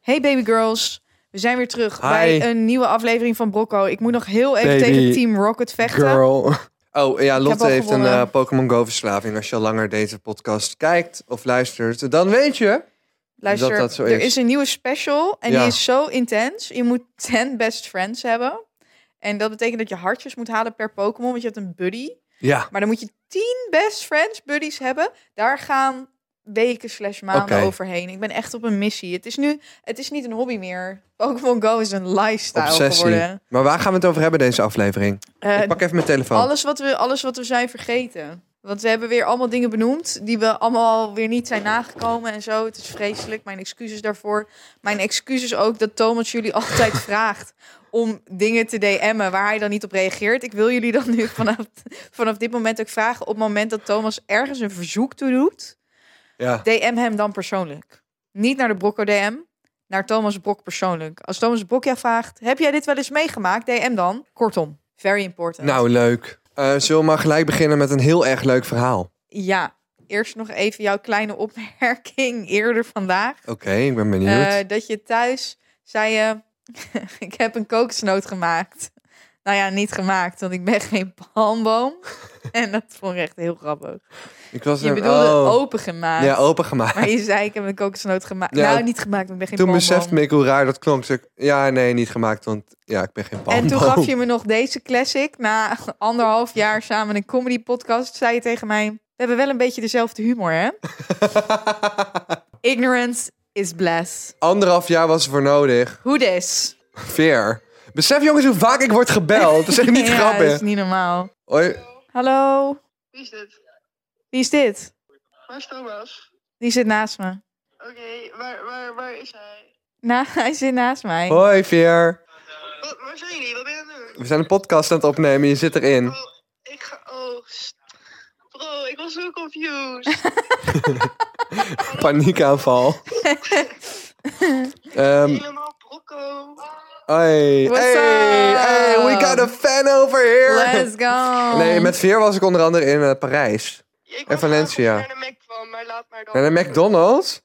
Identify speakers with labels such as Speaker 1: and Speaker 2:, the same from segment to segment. Speaker 1: Hey baby girls, we zijn weer terug
Speaker 2: Hi.
Speaker 1: bij een nieuwe aflevering van Brocco. Ik moet nog heel even
Speaker 2: Baby
Speaker 1: tegen Team Rocket vechten.
Speaker 2: Girl. Oh ja, Lotte
Speaker 1: al
Speaker 2: heeft een
Speaker 1: gewonnen.
Speaker 2: eh, Pokémon Go verslaving. Als je al langer deze podcast kijkt of luistert, dan weet je.
Speaker 1: Luister,
Speaker 2: dat dat zo
Speaker 1: er
Speaker 2: is.
Speaker 1: is een nieuwe special en
Speaker 2: Ja.
Speaker 1: die is zo intens. Je moet 10 best friends hebben. En dat betekent dat je hartjes moet halen per Pokémon, want je hebt een buddy.
Speaker 2: Ja.
Speaker 1: Maar dan moet je 10 best friends buddies hebben. Daar gaan weken slash maanden
Speaker 2: Oké.
Speaker 1: overheen. Ik ben echt op een missie. Het is nu, het is niet een hobby meer. Pokémon Go is een lifestyle
Speaker 2: Obsessie.
Speaker 1: geworden.
Speaker 2: Maar waar gaan we het over hebben deze aflevering?
Speaker 1: Eh,
Speaker 2: Ik pak even mijn telefoon.
Speaker 1: Alles wat, we, alles wat we zijn vergeten. Want we hebben weer allemaal dingen benoemd die we allemaal weer niet zijn nagekomen en zo. Het is vreselijk. Mijn excuses daarvoor. Mijn excuses ook dat Thomas jullie altijd vraagt om dingen te DM'en waar hij dan niet op reageert. Ik wil jullie dan nu vanaf, vanaf dit moment ook vragen op het moment dat Thomas ergens een verzoek toe doet.
Speaker 2: Ja.
Speaker 1: DM hem dan persoonlijk. Niet naar de Brocco DM, naar Thomas Brok persoonlijk. Als Thomas Brok jou vraagt, heb jij dit wel eens meegemaakt? DM dan. Kortom, very important.
Speaker 2: Nou, leuk. Eh zullen we maar gelijk beginnen met een heel erg leuk verhaal?
Speaker 1: Ja, eerst nog even jouw kleine opmerking eerder vandaag.
Speaker 2: Oké, ik ben benieuwd.
Speaker 1: Eh, dat je thuis zei je, ik heb een kokosnoot gemaakt. Nou ja, niet gemaakt, want ik ben geen palmboom. en dat vond ik echt heel grappig.
Speaker 2: ik was
Speaker 1: Je
Speaker 2: er-
Speaker 1: bedoelde
Speaker 2: oh.
Speaker 1: open gemaakt.
Speaker 2: Ja, opengemaakt.
Speaker 1: Maar je zei, ik heb een kokosnoot gemaakt.
Speaker 2: Ja,
Speaker 1: nou, niet gemaakt, want ik ben geen
Speaker 2: Toen
Speaker 1: palmboom.
Speaker 2: besefte ik hoe raar dat klonk. Dus ik- Ja, nee, niet gemaakt, want ja, ik ben geen palmboom.
Speaker 1: En toen gaf je me nog deze classic. Na anderhalf jaar samen een comedy podcast zei je tegen mij... We hebben wel een beetje dezelfde humor, hè? Ignorance is bliss.
Speaker 2: Anderhalf jaar was er voor nodig.
Speaker 1: Hoe des?
Speaker 2: Veer. Besef jongens hoe vaak ik word gebeld. Dat is echt niet
Speaker 1: ja,
Speaker 2: grappig.
Speaker 1: dat is niet normaal.
Speaker 2: Hoi.
Speaker 1: Hallo,
Speaker 3: Wie is dit?
Speaker 1: wie is dit?
Speaker 3: Waar is Thomas?
Speaker 1: Die zit naast me.
Speaker 3: Oké, waar, waar, waar is hij?
Speaker 1: Nou, hij zit naast mij.
Speaker 2: Hoi, Veer.
Speaker 3: Wat, waar zijn jullie? Wat ben je aan het doen?
Speaker 2: We zijn een podcast aan het opnemen. Je zit erin.
Speaker 3: Oh, ik ga... Oh, st- bro, ik was zo confused.
Speaker 2: Paniekaanval. Ehm
Speaker 3: Helemaal brocco.
Speaker 2: hey,
Speaker 1: What's
Speaker 2: hey,
Speaker 1: up?
Speaker 2: hey, we got a fan over here.
Speaker 1: Let's go.
Speaker 2: Nee, met Veer was ik onder andere in eh, Parijs.
Speaker 3: Ik
Speaker 2: En Valencia.
Speaker 3: Ik naar de Mac van, maar laat maar dan.
Speaker 2: Naar de McDonald's.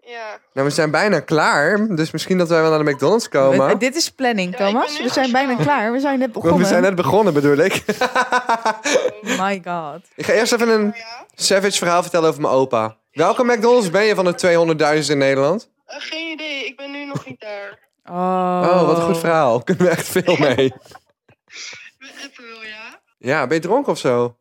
Speaker 3: Ja.
Speaker 2: Nou, we zijn bijna klaar. Dus misschien dat wij wel naar de McDonald's komen.
Speaker 1: We- dit is planning,
Speaker 3: Ja, ik ben
Speaker 1: Thomas.
Speaker 3: nu
Speaker 1: We zijn bijna
Speaker 3: gegaan.
Speaker 1: klaar. We zijn net
Speaker 2: Want
Speaker 1: begonnen.
Speaker 2: we zijn net begonnen, bedoel ik.
Speaker 1: My god.
Speaker 2: ik ga eerst even een
Speaker 3: Ja?
Speaker 2: savage verhaal vertellen over mijn opa. Welke McDonald's ben je van de 200.000 in Nederland?
Speaker 3: Eh, geen idee, ik ben nu nog niet daar.
Speaker 1: Oh,
Speaker 2: Oh, wat een goed verhaal. Kunnen we echt veel mee.
Speaker 3: We appen wel, ja?
Speaker 2: Ja, ben je dronken of zo?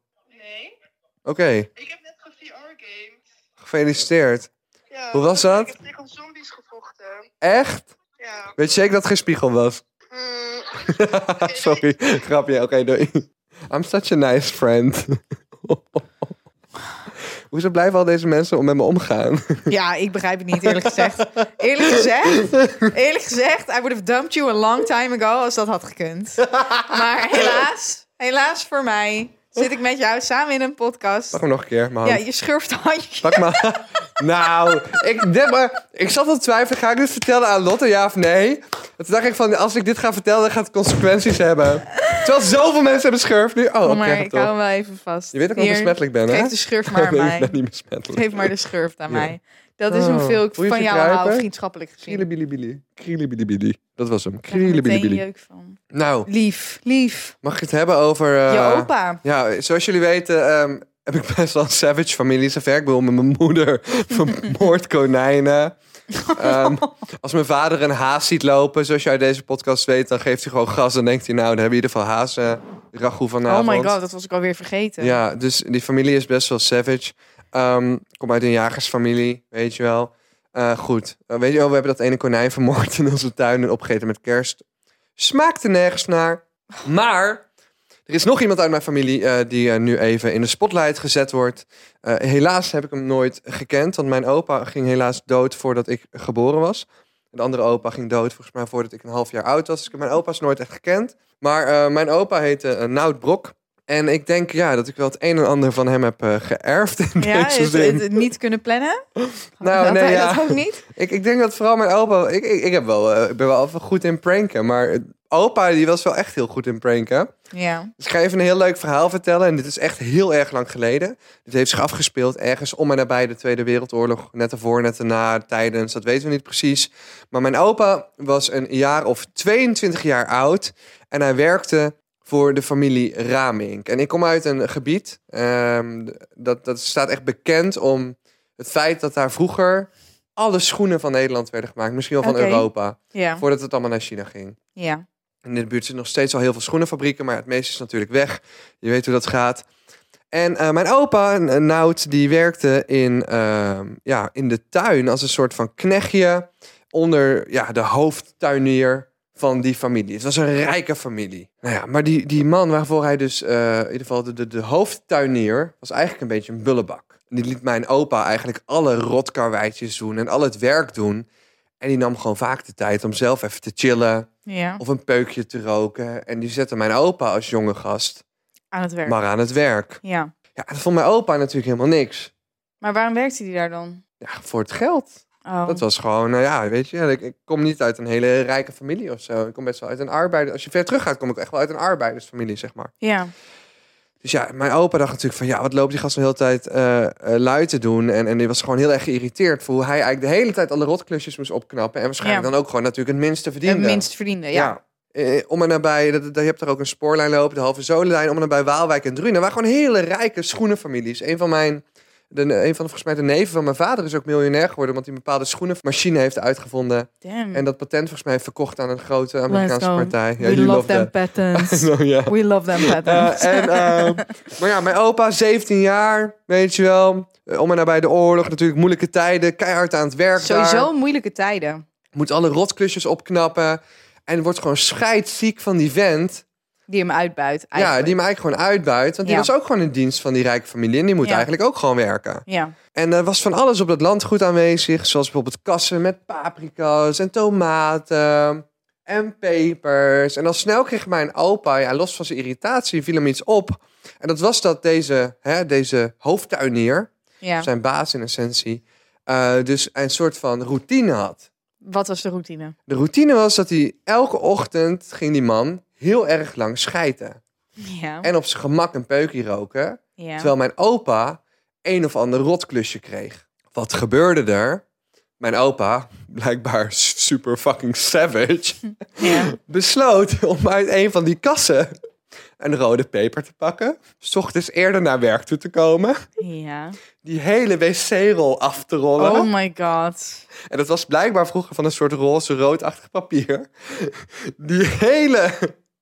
Speaker 2: Oké,
Speaker 3: Nee. Ik heb net ge-VR games.
Speaker 2: gefeliciteerd.
Speaker 3: Ja.
Speaker 2: Hoe was
Speaker 3: Ik
Speaker 2: dat?
Speaker 3: heb tegen zombies gevochten.
Speaker 2: Echt?
Speaker 3: Ja.
Speaker 2: Weet je zeker dat het geen spiegel was?
Speaker 3: Mm,
Speaker 2: Sorry, grapje. Oké, doei. I'm such a nice friend. Hoezo blijven al deze mensen om met me omgaan?
Speaker 1: Ja, ik begrijp het niet, eerlijk gezegd. Eerlijk gezegd, eerlijk gezegd, I would have dumped you a long time ago als dat had gekund. Maar helaas, helaas voor mij, zit ik met jou samen in een podcast.
Speaker 2: Pak hem nog een keer, mijn
Speaker 1: Ja,
Speaker 2: hand.
Speaker 1: je schurft handje.
Speaker 2: Pak maar. nou, ik, dit, maar, ik zat al te twijfelen. Ga ik dit vertellen aan Lotte, ja of nee? Toen dacht ik van, als ik dit ga vertellen, dan gaat het consequenties hebben. Terwijl zoveel mensen hebben schurft nu. Oh,
Speaker 1: Kom
Speaker 2: ik
Speaker 1: maar,
Speaker 2: krijg het
Speaker 1: ik hou
Speaker 2: toch.
Speaker 1: hem wel even vast.
Speaker 2: Je weet dat ik nog
Speaker 1: Hier,
Speaker 2: besmettelijk ben, hè?
Speaker 1: Geef de schurft maar aan
Speaker 2: nee, ik
Speaker 1: mij.
Speaker 2: ben niet besmettelijk.
Speaker 1: Geef maar de schurft aan
Speaker 2: Ja.
Speaker 1: mij. Dat is hoeveel ik
Speaker 2: Oh, moet je
Speaker 1: van jou
Speaker 2: verkruipen?
Speaker 1: hou, vriendschappelijk gezien. Ik
Speaker 2: Krielebilibili. Krielebilibili. Dat was hem.
Speaker 1: krijg er meteen
Speaker 2: Krielebilibili.
Speaker 1: jeuk van.
Speaker 2: Nou,
Speaker 1: Lief, lief.
Speaker 2: mag ik het hebben over... eh,
Speaker 1: Je opa.
Speaker 2: Ja, zoals jullie weten ehm, heb ik best wel een savage familie. Zover ik wil met mijn moeder vermoord konijnen. Ehm, als mijn vader een haas ziet lopen, zoals jij uit deze podcast weet, dan geeft hij gewoon gas. en denkt hij, nou, dan hebben we in ieder geval hazen. Ragout
Speaker 1: Oh
Speaker 2: vanavond.
Speaker 1: my god, dat was ik alweer vergeten.
Speaker 2: nou, Ja, dus die familie is best wel savage. Ehm, ik kom uit een jagersfamilie, weet je wel. Eh, goed, Eh, weet je wel, we hebben dat ene konijn vermoord in onze tuin en opgegeten met kerst. Smaakte nergens naar. Maar er is nog iemand uit mijn familie eh, die eh, nu even in de spotlight gezet wordt. Eh, helaas heb ik hem nooit gekend, want mijn opa ging helaas dood voordat ik geboren was. Een andere opa ging dood volgens mij voordat ik een half jaar oud was. Dus ik heb mijn opa's nooit echt gekend. Maar eh, mijn opa heette eh, Nout Brok. En ik denk ja, dat ik wel het een en ander van hem heb eh, geërfd in
Speaker 1: Ja,
Speaker 2: deze
Speaker 1: het,
Speaker 2: zin.
Speaker 1: het- het niet kunnen plannen.
Speaker 2: Nou,
Speaker 1: Had
Speaker 2: nee,
Speaker 1: hij
Speaker 2: ja.
Speaker 1: dat ook niet?
Speaker 2: Ik, ik denk dat vooral mijn opa... Ik, ik, ik, heb wel, eh, ik ben wel even goed in pranken, maar het- opa die was wel echt heel goed in pranken.
Speaker 1: Ja.
Speaker 2: Dus ik ga even een heel leuk verhaal vertellen. En dit is echt heel erg lang geleden. Dit heeft zich afgespeeld ergens om en nabij de Tweede Wereldoorlog. Net ervoor, net erna, tijdens, dat weten we niet precies. Maar mijn opa was een jaar of 22 jaar oud. En hij werkte voor de familie Ramink. En ik kom uit een gebied, ehm, dat, dat staat echt bekend om het feit dat daar vroeger... alle schoenen van Nederland werden gemaakt. Misschien wel van
Speaker 1: Oké.
Speaker 2: Europa.
Speaker 1: Ja.
Speaker 2: Voordat het allemaal naar China ging.
Speaker 1: Ja.
Speaker 2: In de buurt zitten nog steeds al heel veel schoenenfabrieken, maar het meeste is natuurlijk weg. Je weet hoe dat gaat. En eh, mijn opa, N- Nout, die werkte in, ehm, ja, in de tuin als een soort van knechtje onder ja, de hoofdtuinier van die familie. Het was een rijke familie. Nou ja, maar die, die man waarvoor hij dus, eh, in ieder geval de, de, de hoofdtuinier, was eigenlijk een beetje een bullebak. En die liet mijn opa eigenlijk alle rotkarweitjes doen en al het werk doen. En die nam gewoon vaak de tijd om zelf even te chillen,
Speaker 1: Ja.
Speaker 2: of een peukje te roken. En die zette mijn opa als jonge gast
Speaker 1: Aan het werk.
Speaker 2: maar aan het werk.
Speaker 1: Ja.
Speaker 2: Ja, dat vond mijn opa natuurlijk helemaal niks.
Speaker 1: Maar waarom werkte die daar dan?
Speaker 2: Ja, voor het geld.
Speaker 1: Oh.
Speaker 2: Dat was gewoon, nou ja, weet je, ik, ik kom niet uit een hele rijke familie of zo. Ik kom best wel uit een arbeider. Als je ver terug gaat, kom ik echt wel uit een arbeidersfamilie, zeg maar.
Speaker 1: Ja.
Speaker 2: Dus ja, mijn opa dacht natuurlijk van ja, wat loopt die gast de hele tijd eh eh, lui te doen? En, en die was gewoon heel erg geïrriteerd voor hoe hij eigenlijk de hele tijd alle rotklusjes moest opknappen. En waarschijnlijk
Speaker 1: Ja.
Speaker 2: dan ook gewoon natuurlijk het minste
Speaker 1: Het
Speaker 2: verdiende.
Speaker 1: minst verdiende, ja.
Speaker 2: Eh, om en nabij, dat, dat- je hebt er ook een spoorlijn lopen, de Halve Zolenlijn, om en nabij Waalwijk en Drunen. Waar gewoon hele rijke schoenenfamilies. Een van mijn, de, een van volgens mij de neven van mijn vader is ook miljonair geworden, want hij een bepaalde schoenenmachine heeft uitgevonden.
Speaker 1: Damn.
Speaker 2: En dat patent volgens mij heeft verkocht aan een grote
Speaker 1: Hm. go.
Speaker 2: Amerikaanse partij.
Speaker 1: We
Speaker 2: you
Speaker 1: love them
Speaker 2: that.
Speaker 1: patents.
Speaker 2: Nou ja.
Speaker 1: We love them patents.
Speaker 2: Eh, en, ehm, maar ja, mijn opa, 17 jaar, weet je wel. Eh, Om en nabij de oorlog, natuurlijk moeilijke tijden, keihard aan het werk daar
Speaker 1: Sowieso moeilijke tijden.
Speaker 2: moet alle rotklusjes opknappen. En wordt gewoon scheidziek van die vent.
Speaker 1: Die hem uitbuit.
Speaker 2: Ja,
Speaker 1: eigenlijk.
Speaker 2: die hem eigenlijk gewoon uitbuit. Want die
Speaker 1: Ja.
Speaker 2: was ook gewoon in dienst van die rijke familie. En die moet
Speaker 1: Ja.
Speaker 2: eigenlijk ook gewoon werken.
Speaker 1: Ja.
Speaker 2: En er was van alles op dat landgoed aanwezig. Zoals bijvoorbeeld kassen met paprika's en tomaten en pepers. En al snel kreeg mijn opa, ja, los van zijn irritatie, viel hem iets op. En dat was dat deze, hè, deze hoofdtuinier,
Speaker 1: Ja.
Speaker 2: zijn baas in essentie, eh, dus een soort van routine had.
Speaker 1: Wat was de routine?
Speaker 2: De routine was dat hij elke ochtend ging die man heel erg lang schijten.
Speaker 1: Oh. Ja.
Speaker 2: En op zijn gemak een peukje roken.
Speaker 1: ja.
Speaker 2: Terwijl mijn opa een of ander rotklusje kreeg. Wat gebeurde er? Mijn opa, blijkbaar s- super fucking savage,
Speaker 1: ja.
Speaker 2: besloot om uit een van die kassen een rode peper te pakken. S ochtends eerder naar werk toe te komen.
Speaker 1: ja.
Speaker 2: Die hele wc-rol af te rollen.
Speaker 1: Oh my god.
Speaker 2: En dat was blijkbaar vroeger van een soort roze roodachtig papier. Die hele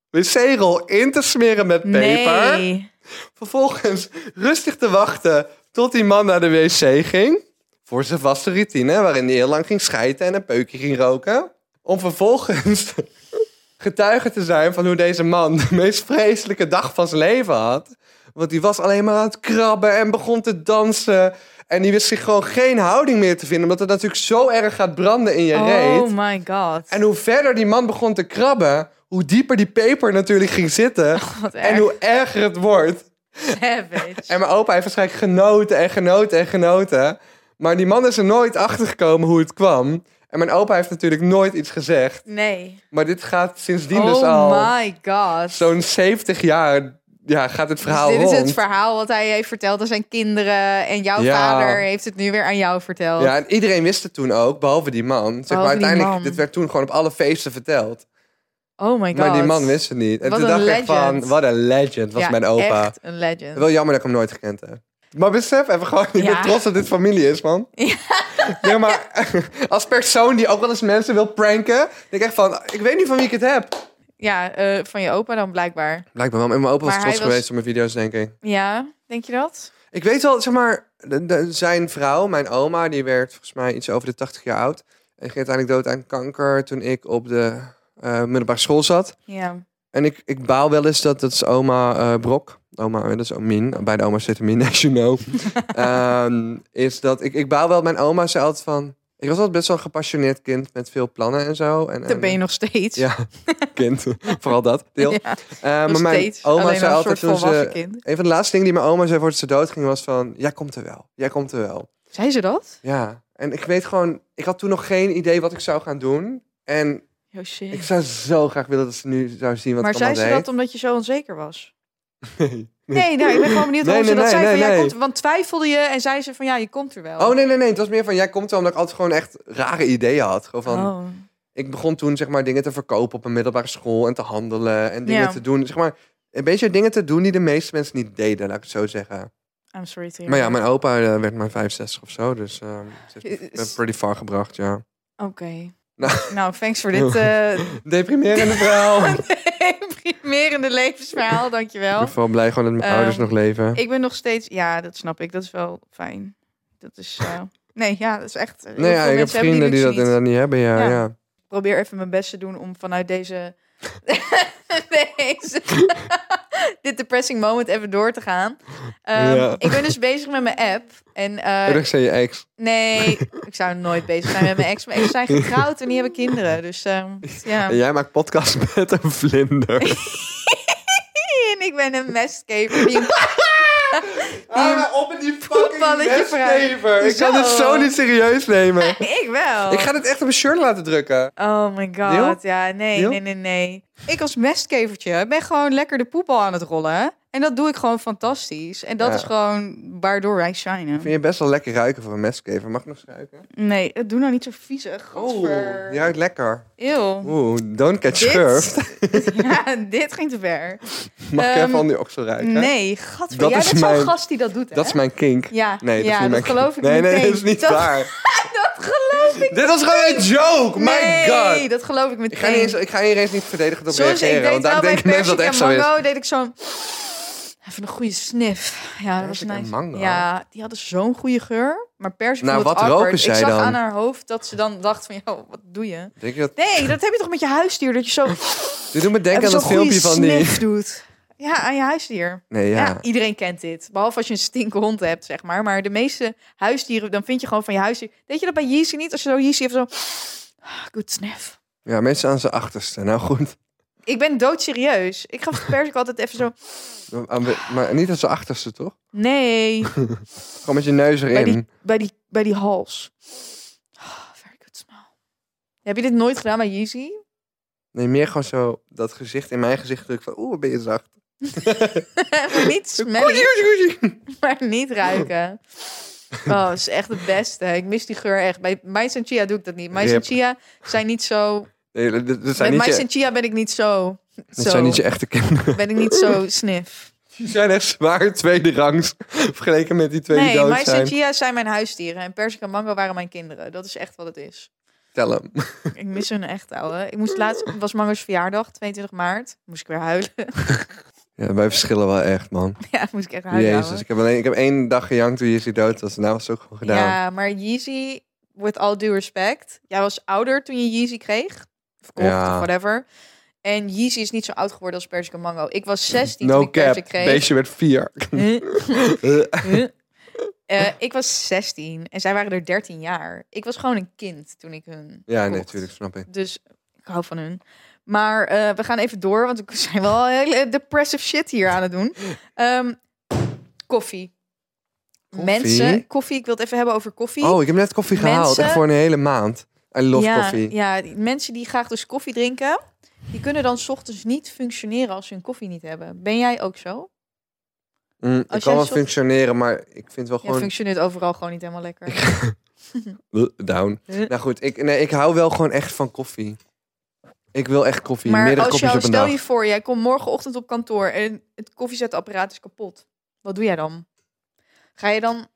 Speaker 2: wc-rol in te smeren met peper.
Speaker 1: Nee.
Speaker 2: Vervolgens rustig te wachten tot die man naar de wc ging. Voor zijn vaste routine, waarin hij heel lang ging schijten en een peukje ging roken. Om vervolgens getuige te zijn van hoe deze man de meest vreselijke dag van zijn leven had. Want die was alleen maar aan het krabben en begon te dansen. En die wist zich gewoon geen houding meer te vinden, omdat het natuurlijk zo erg gaat branden in je reet.
Speaker 1: Oh my god.
Speaker 2: En hoe verder die man begon te krabben, hoe dieper die peper natuurlijk ging zitten.
Speaker 1: Wat erg.
Speaker 2: en hoe erger het wordt.
Speaker 1: savage.
Speaker 2: En mijn opa heeft waarschijnlijk genoten en genoten en genoten. Maar die man is er nooit achter gekomen hoe het kwam. En mijn opa heeft natuurlijk nooit iets gezegd.
Speaker 1: Nee.
Speaker 2: Maar dit gaat sindsdien
Speaker 1: Oh
Speaker 2: dus al
Speaker 1: my god.
Speaker 2: zo'n 70 jaar ja, gaat het verhaal
Speaker 1: Dus dit is
Speaker 2: rond.
Speaker 1: het verhaal wat hij heeft verteld aan zijn kinderen. En jouw
Speaker 2: Ja.
Speaker 1: vader heeft het nu weer aan jou verteld.
Speaker 2: Ja, en iedereen wist het toen ook, behalve die man. Zeg maar,
Speaker 1: Behalve die
Speaker 2: uiteindelijk,
Speaker 1: man.
Speaker 2: dit werd toen gewoon op alle feesten verteld.
Speaker 1: Oh my god.
Speaker 2: Maar die man wist het niet. En
Speaker 1: Wat
Speaker 2: toen
Speaker 1: een
Speaker 2: dacht ik van,
Speaker 1: legend.
Speaker 2: wat een legend was
Speaker 1: Ja,
Speaker 2: mijn opa.
Speaker 1: Echt een legend.
Speaker 2: Wel jammer dat ik hem nooit gekend heb. Maar besef even gewoon, ik ben
Speaker 1: Ja.
Speaker 2: trots dat dit familie is, man. Ja. Nee, maar als persoon die ook wel eens mensen wil pranken, denk ik echt van, ik weet niet van wie ik het heb.
Speaker 1: Ja, eh, van je opa dan blijkbaar.
Speaker 2: Blijkbaar wel, maar mijn opa was
Speaker 1: Maar
Speaker 2: trots
Speaker 1: hij was-
Speaker 2: geweest op mijn video's, denk ik.
Speaker 1: Ja, denk je dat?
Speaker 2: Ik weet wel, zeg maar, de- de- zijn vrouw, mijn oma, die werd volgens mij iets over de 80 jaar oud. En ging uiteindelijk dood aan kanker toen ik op de eh, middelbare school zat.
Speaker 1: Ja.
Speaker 2: En ik, ik baal wel eens dat dat is oma eh, Brok. Oma, dat is ook Min. Bij de oma zit een Min, as you know. Ehm, is dat ik, ik baal wel. Mijn oma zei altijd van... Ik was altijd best wel een gepassioneerd kind met veel plannen en zo. En,
Speaker 1: Dat ben je nog steeds.
Speaker 2: Eh, Ja, kind. Vooral dat deel.
Speaker 1: Ja,
Speaker 2: Eh,
Speaker 1: nog
Speaker 2: maar mijn
Speaker 1: steeds.
Speaker 2: oma
Speaker 1: Alleen
Speaker 2: zei
Speaker 1: al een
Speaker 2: altijd
Speaker 1: soort
Speaker 2: toen
Speaker 1: volwassen
Speaker 2: ze...
Speaker 1: kind.
Speaker 2: Een van de laatste dingen die mijn oma zei voordat ze doodging was van... Jij komt er wel. Jij komt er wel.
Speaker 1: Zei ze dat?
Speaker 2: Ja. En ik weet gewoon... Ik had toen nog geen idee wat ik zou gaan doen. En
Speaker 1: Yo, Oh, shit.
Speaker 2: Ik zou zo graag willen dat ze nu zou zien wat
Speaker 1: maar
Speaker 2: ik
Speaker 1: zei
Speaker 2: allemaal
Speaker 1: ze
Speaker 2: deed.
Speaker 1: dat omdat je zo onzeker was?
Speaker 2: Nee.
Speaker 1: Nee, nou, ik ben gewoon benieuwd
Speaker 2: Nee,
Speaker 1: waarom ze
Speaker 2: nee,
Speaker 1: dat zei.
Speaker 2: nee,
Speaker 1: van, ja,
Speaker 2: nee.
Speaker 1: komt, want twijfelde je en zei ze van ja, je komt er wel.
Speaker 2: Oh nee, nee, nee. Het was meer van, jij komt wel omdat ik altijd gewoon echt rare ideeën had. Gewoon van,
Speaker 1: Oh.
Speaker 2: ik begon toen zeg maar dingen te verkopen op een middelbare school en te handelen en dingen
Speaker 1: Ja.
Speaker 2: te doen. Zeg maar, een beetje dingen te doen die de meeste mensen niet deden, laat ik het zo zeggen.
Speaker 1: I'm sorry to hear
Speaker 2: Maar ja,
Speaker 1: that.
Speaker 2: mijn opa eh, werd maar 65 of zo, dus ehm het is
Speaker 1: Is-
Speaker 2: pretty far gebracht, ja.
Speaker 1: Oké.
Speaker 2: Nou.
Speaker 1: Nou, thanks voor dit eh
Speaker 2: Deprimerende verhaal.
Speaker 1: deprimerende levensverhaal,
Speaker 2: Ik
Speaker 1: dankjewel.
Speaker 2: ben vooral blij gewoon dat mijn
Speaker 1: Ehm,
Speaker 2: ouders nog leven.
Speaker 1: Ik ben nog steeds... Ja, dat snap ik. Dat is wel fijn. Dat is... eh, nee, ja, dat is echt... heel
Speaker 2: Nee, ja,
Speaker 1: veel
Speaker 2: ik heb
Speaker 1: mensen hebben
Speaker 2: vrienden die
Speaker 1: luxe
Speaker 2: dat
Speaker 1: niet.
Speaker 2: inderdaad niet hebben, ja.
Speaker 1: Ja.
Speaker 2: ja.
Speaker 1: Ik probeer even mijn best te doen om vanuit deze... deze dit depressing moment even door te gaan. Ehm,
Speaker 2: Ja.
Speaker 1: Ik ben dus bezig met mijn app. En eh,
Speaker 2: Terug zei je ex.
Speaker 1: nee, ik zou nooit bezig zijn met mijn ex. Mijn ex zijn getrouwd en die hebben kinderen. Dus ehm, ja.
Speaker 2: En jij maakt podcast met een vlinder.
Speaker 1: En ik ben een mescaper die een Ah,
Speaker 2: Hou nou op met die
Speaker 1: Voetballetje vooruit.
Speaker 2: mesnever. Ik kan dit
Speaker 1: Zo.
Speaker 2: zo niet serieus nemen.
Speaker 1: Ik wel.
Speaker 2: Ik ga dit echt op mijn shirt laten drukken.
Speaker 1: Oh my god,
Speaker 2: Deal?
Speaker 1: ja, nee,
Speaker 2: Deal?
Speaker 1: nee, nee, nee. Ik als mestkevertje ben gewoon lekker de poepel aan het rollen. En dat doe ik gewoon fantastisch. En dat
Speaker 2: Ja.
Speaker 1: is gewoon waardoor wij shinen.
Speaker 2: Vind je best wel lekker ruiken voor een meskever. Mag ik nog eens ruiken?
Speaker 1: Nee, het doe nou niet zo viezig.
Speaker 2: Oeh, die
Speaker 1: Godver.
Speaker 2: ruikt lekker.
Speaker 1: Eeuw.
Speaker 2: Oeh, don't catch
Speaker 1: Dit?
Speaker 2: schurft.
Speaker 1: Ja, dit ging te ver.
Speaker 2: Mag ik
Speaker 1: Ehm,
Speaker 2: even aan die oksel ruiken?
Speaker 1: Nee, gadver.
Speaker 2: Dat
Speaker 1: Jij
Speaker 2: is
Speaker 1: bent zo'n
Speaker 2: mijn-
Speaker 1: gast die dat doet, hè?
Speaker 2: Dat is mijn kink.
Speaker 1: Ja,
Speaker 2: Nee, dat
Speaker 1: ja,
Speaker 2: is niet mijn
Speaker 1: geloof ik
Speaker 2: kink. Nee,
Speaker 1: meteen.
Speaker 2: nee, dat is niet
Speaker 1: dat,
Speaker 2: waar.
Speaker 1: dat geloof ik
Speaker 2: Dit was gewoon een joke. My god.
Speaker 1: Nee, dat geloof ik meteen.
Speaker 2: Ik ga, niet eens, ik ga hier eens niet verdedigend op
Speaker 1: Zoals ik
Speaker 2: reageren,
Speaker 1: deed
Speaker 2: want
Speaker 1: wel
Speaker 2: daar
Speaker 1: bij
Speaker 2: denken mensen
Speaker 1: persik
Speaker 2: dat
Speaker 1: en
Speaker 2: echt zo is.
Speaker 1: mango, deed ik zo'n... Even een goede sniff. Ja, dat was
Speaker 2: Persik en
Speaker 1: nice.
Speaker 2: mango?
Speaker 1: Ja, die hadden zo'n goede geur. Maar persik
Speaker 2: Nou,
Speaker 1: vond het
Speaker 2: wat
Speaker 1: awkward.
Speaker 2: roken zij
Speaker 1: Ik zag
Speaker 2: dan?
Speaker 1: aan haar hoofd dat ze dan dacht van... Yo, wat doe je?
Speaker 2: Denk je dat?
Speaker 1: Nee, dat heb je toch met je huisdier? Dat je zo
Speaker 2: Dit doet me
Speaker 1: even
Speaker 2: denken aan
Speaker 1: zo'n
Speaker 2: dat
Speaker 1: goede
Speaker 2: filmpje van die...
Speaker 1: sniff doet. Ja, aan je huisdier.
Speaker 2: Nee,
Speaker 1: Ja.
Speaker 2: ja.
Speaker 1: iedereen kent dit. Behalve als je een stinkhond hebt, zeg maar. Maar de meeste huisdieren, dan vind je gewoon van je huisdier... Deed je dat bij Yeezy niet? Als je zo Yeezy even zo... ah, Good sniff.
Speaker 2: Ja, mensen aan zijn achterste. Nou goed.
Speaker 1: Ik ben doodserieus. Ik gaf persik altijd even zo...
Speaker 2: Maar niet aan zijn achterste, toch?
Speaker 1: Nee,
Speaker 2: Gewoon met je neus
Speaker 1: bij
Speaker 2: erin.
Speaker 1: die, bij die, bij die hals. Ah, very good smell. Heb je dit nooit gedaan bij Yeezy?
Speaker 2: Nee, meer gewoon zo dat gezicht in mijn gezicht druk van... Oeh, wat ben je zacht.
Speaker 1: maar niet smellen, maar niet ruiken. Oh, dat is echt het beste. Ik mis die geur echt. Bij mais en chia doe ik dat niet. Mais en
Speaker 2: Rip.
Speaker 1: chia zijn niet zo...
Speaker 2: Nee, dat- dat, dat zijn
Speaker 1: Bij
Speaker 2: niet
Speaker 1: mais
Speaker 2: je,
Speaker 1: en chia ben ik niet zo...
Speaker 2: dat zijn
Speaker 1: Zo
Speaker 2: niet je echte kinderen.
Speaker 1: ben ik niet zo sniff.
Speaker 2: Die zijn echt zwaar tweede rangs. Vergeleken met die twee die
Speaker 1: Nee,
Speaker 2: dood
Speaker 1: mais en
Speaker 2: zijn.
Speaker 1: chia zijn mijn huisdieren. En persik en mango waren mijn kinderen. Dat is echt wat het is.
Speaker 2: Tel hem.
Speaker 1: Ik mis hun echt, ouwe. Ik moest laatst... Het was Mango's verjaardag, 22 maart. Moest ik weer huilen.
Speaker 2: Ja, wij verschillen wel echt, man.
Speaker 1: Ja, moest ik echt huilen, ouwe.
Speaker 2: Jezus, ik heb, alleen, ik heb één dag gejankt toen Jesse dood was. Daarna was het ook gewoon gedaan.
Speaker 1: Ja, maar Yeezy, with all due respect. Jij was ouder toen je Yeezy kreeg. Verkocht
Speaker 2: Ja.
Speaker 1: of whatever. En Yeezy is niet zo oud geworden als Persica Mango. Ik was 16 toen
Speaker 2: no
Speaker 1: ik Persica
Speaker 2: cap.
Speaker 1: kreeg.
Speaker 2: Beestje werd vier.
Speaker 1: Eh, ik was 16 en zij waren er 13 jaar. Ik was gewoon een kind toen ik hun
Speaker 2: ja, nee,
Speaker 1: kocht.
Speaker 2: natuurlijk, snap ik.
Speaker 1: Dus ik hou van hun. Maar eh, we gaan even door, want we zijn wel hele depressive shit hier aan het doen. Ehm, koffie.
Speaker 2: Koffie?
Speaker 1: Mensen, koffie. Ik wil het even hebben over koffie.
Speaker 2: Oh, ik heb net koffie gehaald.
Speaker 1: Mensen-
Speaker 2: Echt voor een hele maand. I love
Speaker 1: ja,
Speaker 2: koffie.
Speaker 1: Ja, die mensen die graag dus koffie drinken, die kunnen dan 's ochtends niet functioneren als ze hun koffie niet hebben. Ben jij ook zo?
Speaker 2: Mm, ik
Speaker 1: jij
Speaker 2: kan wel
Speaker 1: soort-
Speaker 2: functioneren, maar ik vind wel
Speaker 1: Jij
Speaker 2: gewoon...
Speaker 1: functioneert overal gewoon niet helemaal lekker.
Speaker 2: Down.
Speaker 1: Eh.
Speaker 2: Nou goed, ik, nee, ik hou wel gewoon echt van koffie. Ik wil echt koffie.
Speaker 1: maar
Speaker 2: Meerdere
Speaker 1: als
Speaker 2: kopjes
Speaker 1: jou,
Speaker 2: op een
Speaker 1: stel
Speaker 2: dag.
Speaker 1: je voor, jij komt morgenochtend op kantoor en het koffiezetapparaat is kapot. Wat doe jij dan? Ga je dan...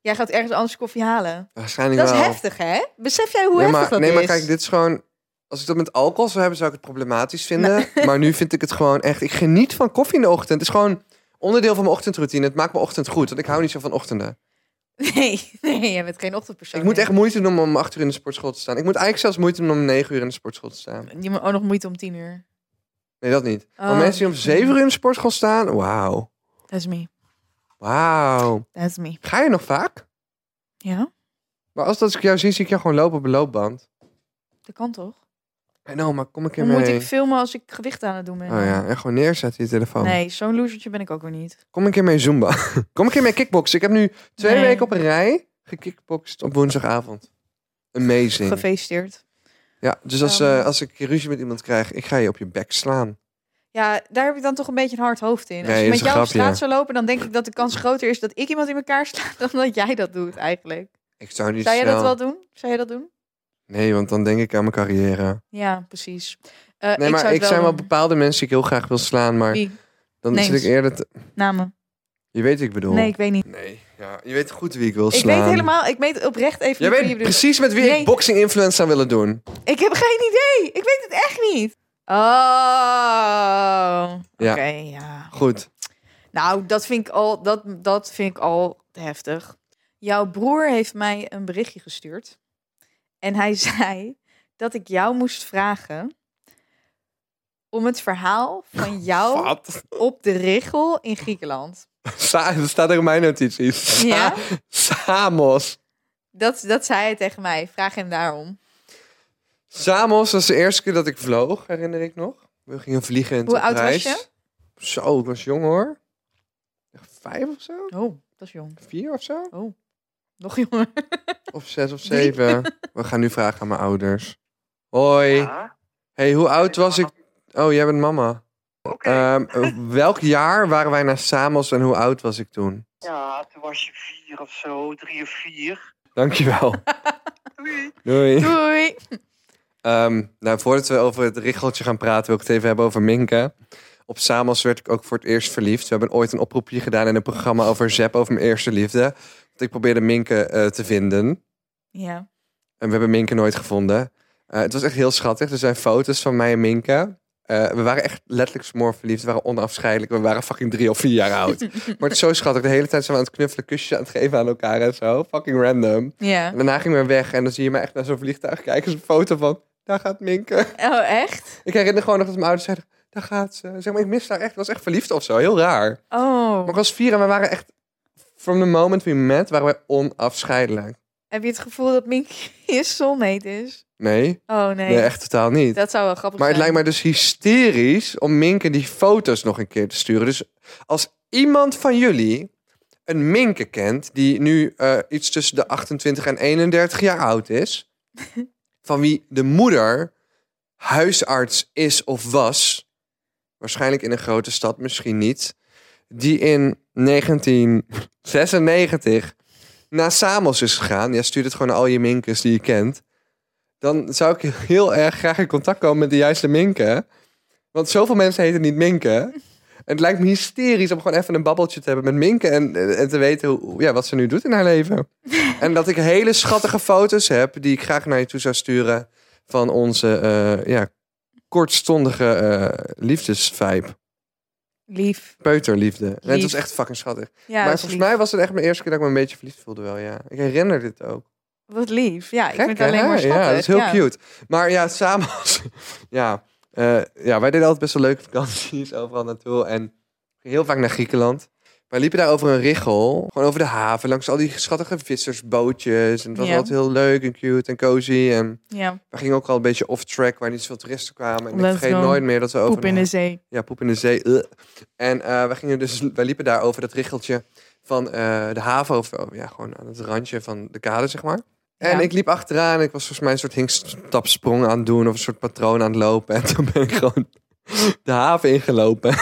Speaker 1: Jij gaat ergens anders koffie halen.
Speaker 2: Waarschijnlijk
Speaker 1: Dat is
Speaker 2: wel.
Speaker 1: heftig, hè? Besef jij hoe
Speaker 2: nee,
Speaker 1: heftig
Speaker 2: maar,
Speaker 1: dat
Speaker 2: nee,
Speaker 1: is?
Speaker 2: maar kijk, dit is gewoon... Als ik dat met alcohol zou hebben, zou ik het problematisch vinden. Maar nu vind ik het gewoon echt... Ik geniet van koffie in de ochtend. Het is gewoon onderdeel van mijn ochtendroutine. Het maakt mijn ochtend goed, want ik hou niet zo van ochtenden.
Speaker 1: Nee, nee, jij bent geen ochtendpersoon.
Speaker 2: ik moet
Speaker 1: hè?
Speaker 2: echt moeite doen om om acht uur in de sportschool te staan. Ik moet eigenlijk zelfs moeite doen om om negen uur in de sportschool te staan.
Speaker 1: Je moet ook nog moeite om tien uur.
Speaker 2: Nee, dat niet. Maar
Speaker 1: Oh.
Speaker 2: mensen die om zeven uur in de sportschool staan... Wauw.
Speaker 1: That's me.
Speaker 2: Wauw.
Speaker 1: That's me.
Speaker 2: Ga je nog vaak?
Speaker 1: Ja,
Speaker 2: Maar als dat ik jou zie, zie ik jou gewoon lopen op een loopband.
Speaker 1: dat kan toch?
Speaker 2: En nou, maar kom ik
Speaker 1: Hoe
Speaker 2: in mee.
Speaker 1: moet ik filmen als ik gewicht aan het doen ben?
Speaker 2: Oh ja, oh. en gewoon neerzetten je telefoon.
Speaker 1: Nee, zo'n losertje ben ik ook weer niet.
Speaker 2: Kom een keer mee Zumba. Kom een keer mee kickboxen. Ik heb nu twee
Speaker 1: Nee.
Speaker 2: weken op een rij gekickboxed op woensdagavond. Amazing.
Speaker 1: Gefeliciteerd.
Speaker 2: Ja, dus als,
Speaker 1: Ehm.
Speaker 2: eh, als ik ruzie met iemand krijg, ik ga je op je bek slaan.
Speaker 1: Ja, daar heb ik dan toch een beetje een hard hoofd in. Als
Speaker 2: Nee,
Speaker 1: ik
Speaker 2: is
Speaker 1: met
Speaker 2: een
Speaker 1: jou op
Speaker 2: grapje.
Speaker 1: straat zou lopen, dan denk ik dat de kans groter is dat ik iemand in elkaar sla dan dat jij dat doet eigenlijk.
Speaker 2: Ik zou niet
Speaker 1: Zou jij
Speaker 2: snel...
Speaker 1: dat wel doen? Zou jij dat doen?
Speaker 2: Nee, want dan denk ik aan mijn carrière.
Speaker 1: Ja, precies. Eh,
Speaker 2: Nee,
Speaker 1: ik
Speaker 2: maar
Speaker 1: zou
Speaker 2: ik
Speaker 1: het
Speaker 2: zijn wel
Speaker 1: doen.
Speaker 2: bepaalde mensen die ik heel graag wil slaan, maar
Speaker 1: Wie?
Speaker 2: dan
Speaker 1: Nee.
Speaker 2: zit ik eerder... te-
Speaker 1: Namen?
Speaker 2: Je weet wat ik bedoel.
Speaker 1: Nee, ik weet niet.
Speaker 2: Nee, ja, je weet goed wie ik wil
Speaker 1: Ik
Speaker 2: slaan.
Speaker 1: weet helemaal, ik weet oprecht even
Speaker 2: Jij
Speaker 1: niet wie je
Speaker 2: weet
Speaker 1: bedoelt.
Speaker 2: precies met wie
Speaker 1: Nee.
Speaker 2: ik boxing influence zou willen doen.
Speaker 1: Ik heb geen idee. Ik weet het echt niet. Oh. Oké,
Speaker 2: Ja.
Speaker 1: ja.
Speaker 2: Goed.
Speaker 1: Nou, dat vind, ik al, dat, dat vind ik al te heftig. Jouw broer heeft mij een berichtje gestuurd. En hij zei dat ik jou moest vragen om het verhaal van jou
Speaker 2: Wat?
Speaker 1: op de richel in Griekenland.
Speaker 2: Sa er staat er in mijn notities. Sa-
Speaker 1: Ja?
Speaker 2: Samos.
Speaker 1: Dat, dat zei hij tegen mij. Vraag hem daarom.
Speaker 2: Samos was de eerste keer dat ik vloog, herinner ik nog. We gingen vliegen en
Speaker 1: Hoe oud was je?
Speaker 2: Zo, ik was jong hoor. Vijf of zo?
Speaker 1: Oh, dat is jong.
Speaker 2: Vier of zo?
Speaker 1: Nog jonger.
Speaker 2: Of zes of
Speaker 1: Drie.
Speaker 2: zeven. We gaan nu vragen aan mijn ouders. Hoi.
Speaker 3: Ja,
Speaker 2: Hey, hoe oud was ik? Oh, jij bent mama.
Speaker 3: oké.
Speaker 2: Ehm, welk jaar waren wij naar Samos en hoe oud was ik toen?
Speaker 3: Ja, toen was je vier of zo, drie of vier.
Speaker 2: Dankjewel.
Speaker 3: Doei.
Speaker 2: Doei.
Speaker 1: Doei.
Speaker 2: Ehm, nou, voordat we over het richeltje gaan praten, wil ik het even hebben over Minka. Op Samos werd ik ook voor het eerst verliefd. We hebben ooit een oproepje gedaan in een programma over Zep, over mijn eerste liefde. Want ik probeerde Minke eh, te vinden.
Speaker 1: Ja.
Speaker 2: En we hebben Minke nooit gevonden. Eh, het was echt heel schattig. Er zijn foto's van mij en Minke. Eh, we waren echt letterlijk smoor verliefd. We waren onafscheidelijk. We waren fucking drie of vier jaar oud. Maar het is zo schattig. De hele tijd zijn we aan het knuffelen, kusjes aan het geven aan elkaar en zo. Fucking random.
Speaker 1: Ja.
Speaker 2: En daarna gingen we weg. En dan zie je me echt naar zo'n vliegtuig kijken. Zo'n foto van, daar gaat Minke.
Speaker 1: Oh, echt?
Speaker 2: Ik herinner gewoon nog dat mijn ouders zeiden, daar gaat ze. Zeg maar, ik mis haar echt. Ik was echt verliefd of zo. Heel raar. Maar
Speaker 1: Oh.
Speaker 2: ik was vier en we waren echt... From the moment we met, waren wij onafscheidelijk.
Speaker 1: Heb je het gevoel dat Minky je soulmate is?
Speaker 2: Nee,
Speaker 1: Oh, nee.
Speaker 2: nee, echt totaal niet.
Speaker 1: Dat zou wel grappig
Speaker 2: Maar het
Speaker 1: zijn.
Speaker 2: lijkt mij dus hysterisch om Minke die foto's nog een keer te sturen. Dus als iemand van jullie een Minke kent die nu eh, iets tussen de 28 en 31 jaar oud is, van wie de moeder huisarts is of was, waarschijnlijk in een grote stad, misschien niet, die in 1996 naar Samos is gegaan. Ja, stuur het gewoon naar al je Minkes die je kent dan zou ik heel erg graag in contact komen met de juiste Minke. Want zoveel mensen heten niet Minke. En het lijkt me hysterisch om gewoon even een babbeltje te hebben met Minke. En, en te weten hoe, ja, wat ze nu doet in haar leven. En dat ik hele schattige foto's heb die ik graag naar je toe zou sturen. Van onze eh, ja, kortstondige eh liefdesvibe.
Speaker 1: Lief.
Speaker 2: Peuterliefde. En het
Speaker 1: Lief.
Speaker 2: was echt fucking schattig.
Speaker 1: Ja,
Speaker 2: maar
Speaker 1: dat is
Speaker 2: volgens
Speaker 1: lief.
Speaker 2: mij was het echt mijn eerste keer dat ik me een beetje verliefd voelde wel, ja. Ik herinner dit ook.
Speaker 1: Wat lief. Ja, ik
Speaker 2: Gek,
Speaker 1: vind het alleen
Speaker 2: hè?
Speaker 1: maar schattig.
Speaker 2: Ja, dat is heel
Speaker 1: ja.
Speaker 2: cute. Maar ja, samen... als- ja, eh, ja, wij deden altijd best wel leuke vakanties overal naartoe. En we gingen heel vaak naar Griekenland. Wij liepen daar over een richel. Gewoon over de haven, langs al die schattige vissersbootjes. En het was
Speaker 1: Ja.
Speaker 2: altijd heel leuk en cute en cozy. En
Speaker 1: Ja,
Speaker 2: we gingen ook al een beetje off-track, waar niet zoveel toeristen kwamen. En ik
Speaker 1: Let's
Speaker 2: vergeet
Speaker 1: go.
Speaker 2: nooit meer dat we over...
Speaker 1: poep in de zee.
Speaker 2: Ja, poep in de zee. Ugh. En eh wij, gingen dus, wij liepen daar over dat richeltje van eh, de haven. Of oh, ja, gewoon aan het randje van de kade, zeg maar. En
Speaker 1: Ja.
Speaker 2: ik liep achteraan. Ik was volgens mij een soort hinkstapsprong aan het doen. Of een soort patroon aan het lopen. En toen ben ik gewoon de haven ingelopen.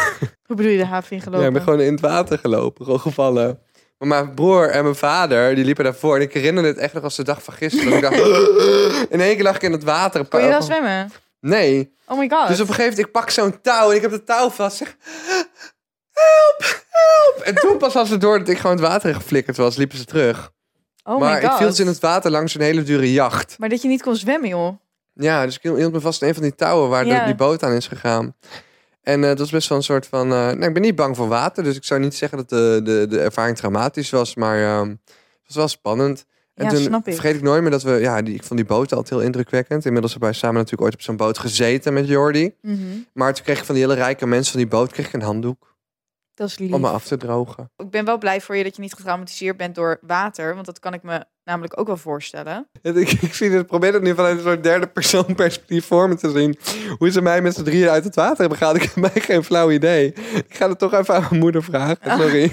Speaker 1: Hoe bedoel je de haven ingelopen?
Speaker 2: Ja, ik ben gewoon in het water gelopen. Gewoon gevallen. Maar mijn broer en mijn vader, die liepen daarvoor. En ik herinner het echt nog als de dag van gisteren. Dat ik dacht, in één keer lag ik in het water. Een
Speaker 1: Kon
Speaker 2: paar-
Speaker 1: je wel zwemmen?
Speaker 2: Nee.
Speaker 1: Oh my god.
Speaker 2: Oh. Dus op een gegeven moment, ik pak zo'n touw en ik heb de touw vast. Zeg, help, help. En toen pas als ze door dat ik gewoon het water in geflikkerd was, liepen ze terug.
Speaker 1: oh
Speaker 2: maar
Speaker 1: my
Speaker 2: ik
Speaker 1: god.
Speaker 2: viel dus in het water langs een hele dure jacht.
Speaker 1: Maar dat je niet kon zwemmen, joh.
Speaker 2: Ja, dus ik hield me vast aan een van die touwen waar de-
Speaker 1: Ja.
Speaker 2: die boot aan is gegaan. En eh, dat was best wel een soort van... eh, nou, ik ben niet bang voor water, dus ik zou niet zeggen dat de, de, de ervaring traumatisch was. Maar ehm, het was wel spannend. En
Speaker 1: Ja,
Speaker 2: toen
Speaker 1: snap ik.
Speaker 2: vergeet ik nooit meer dat we... Ja, die, ik vond die boot altijd heel indrukwekkend. Inmiddels hebben wij samen natuurlijk ooit op zo'n boot gezeten met Jordi.
Speaker 1: Mhm.
Speaker 2: Maar toen kreeg ik van die hele rijke mensen van die boot kreeg ik een handdoek
Speaker 1: Dat is lief.
Speaker 2: om me af te drogen.
Speaker 1: Ik ben wel blij voor je dat je niet getraumatiseerd bent door water. Want dat kan ik me namelijk ook wel voorstellen.
Speaker 2: En Ik, ik zie het, probeer het nu vanuit een soort derde persoon perspectief voor me te zien. Hoe ze mij met z'n drieën uit het water hebben gehaald. Ik heb mij geen flauw idee. Ik ga het toch even aan mijn moeder vragen. Sorry.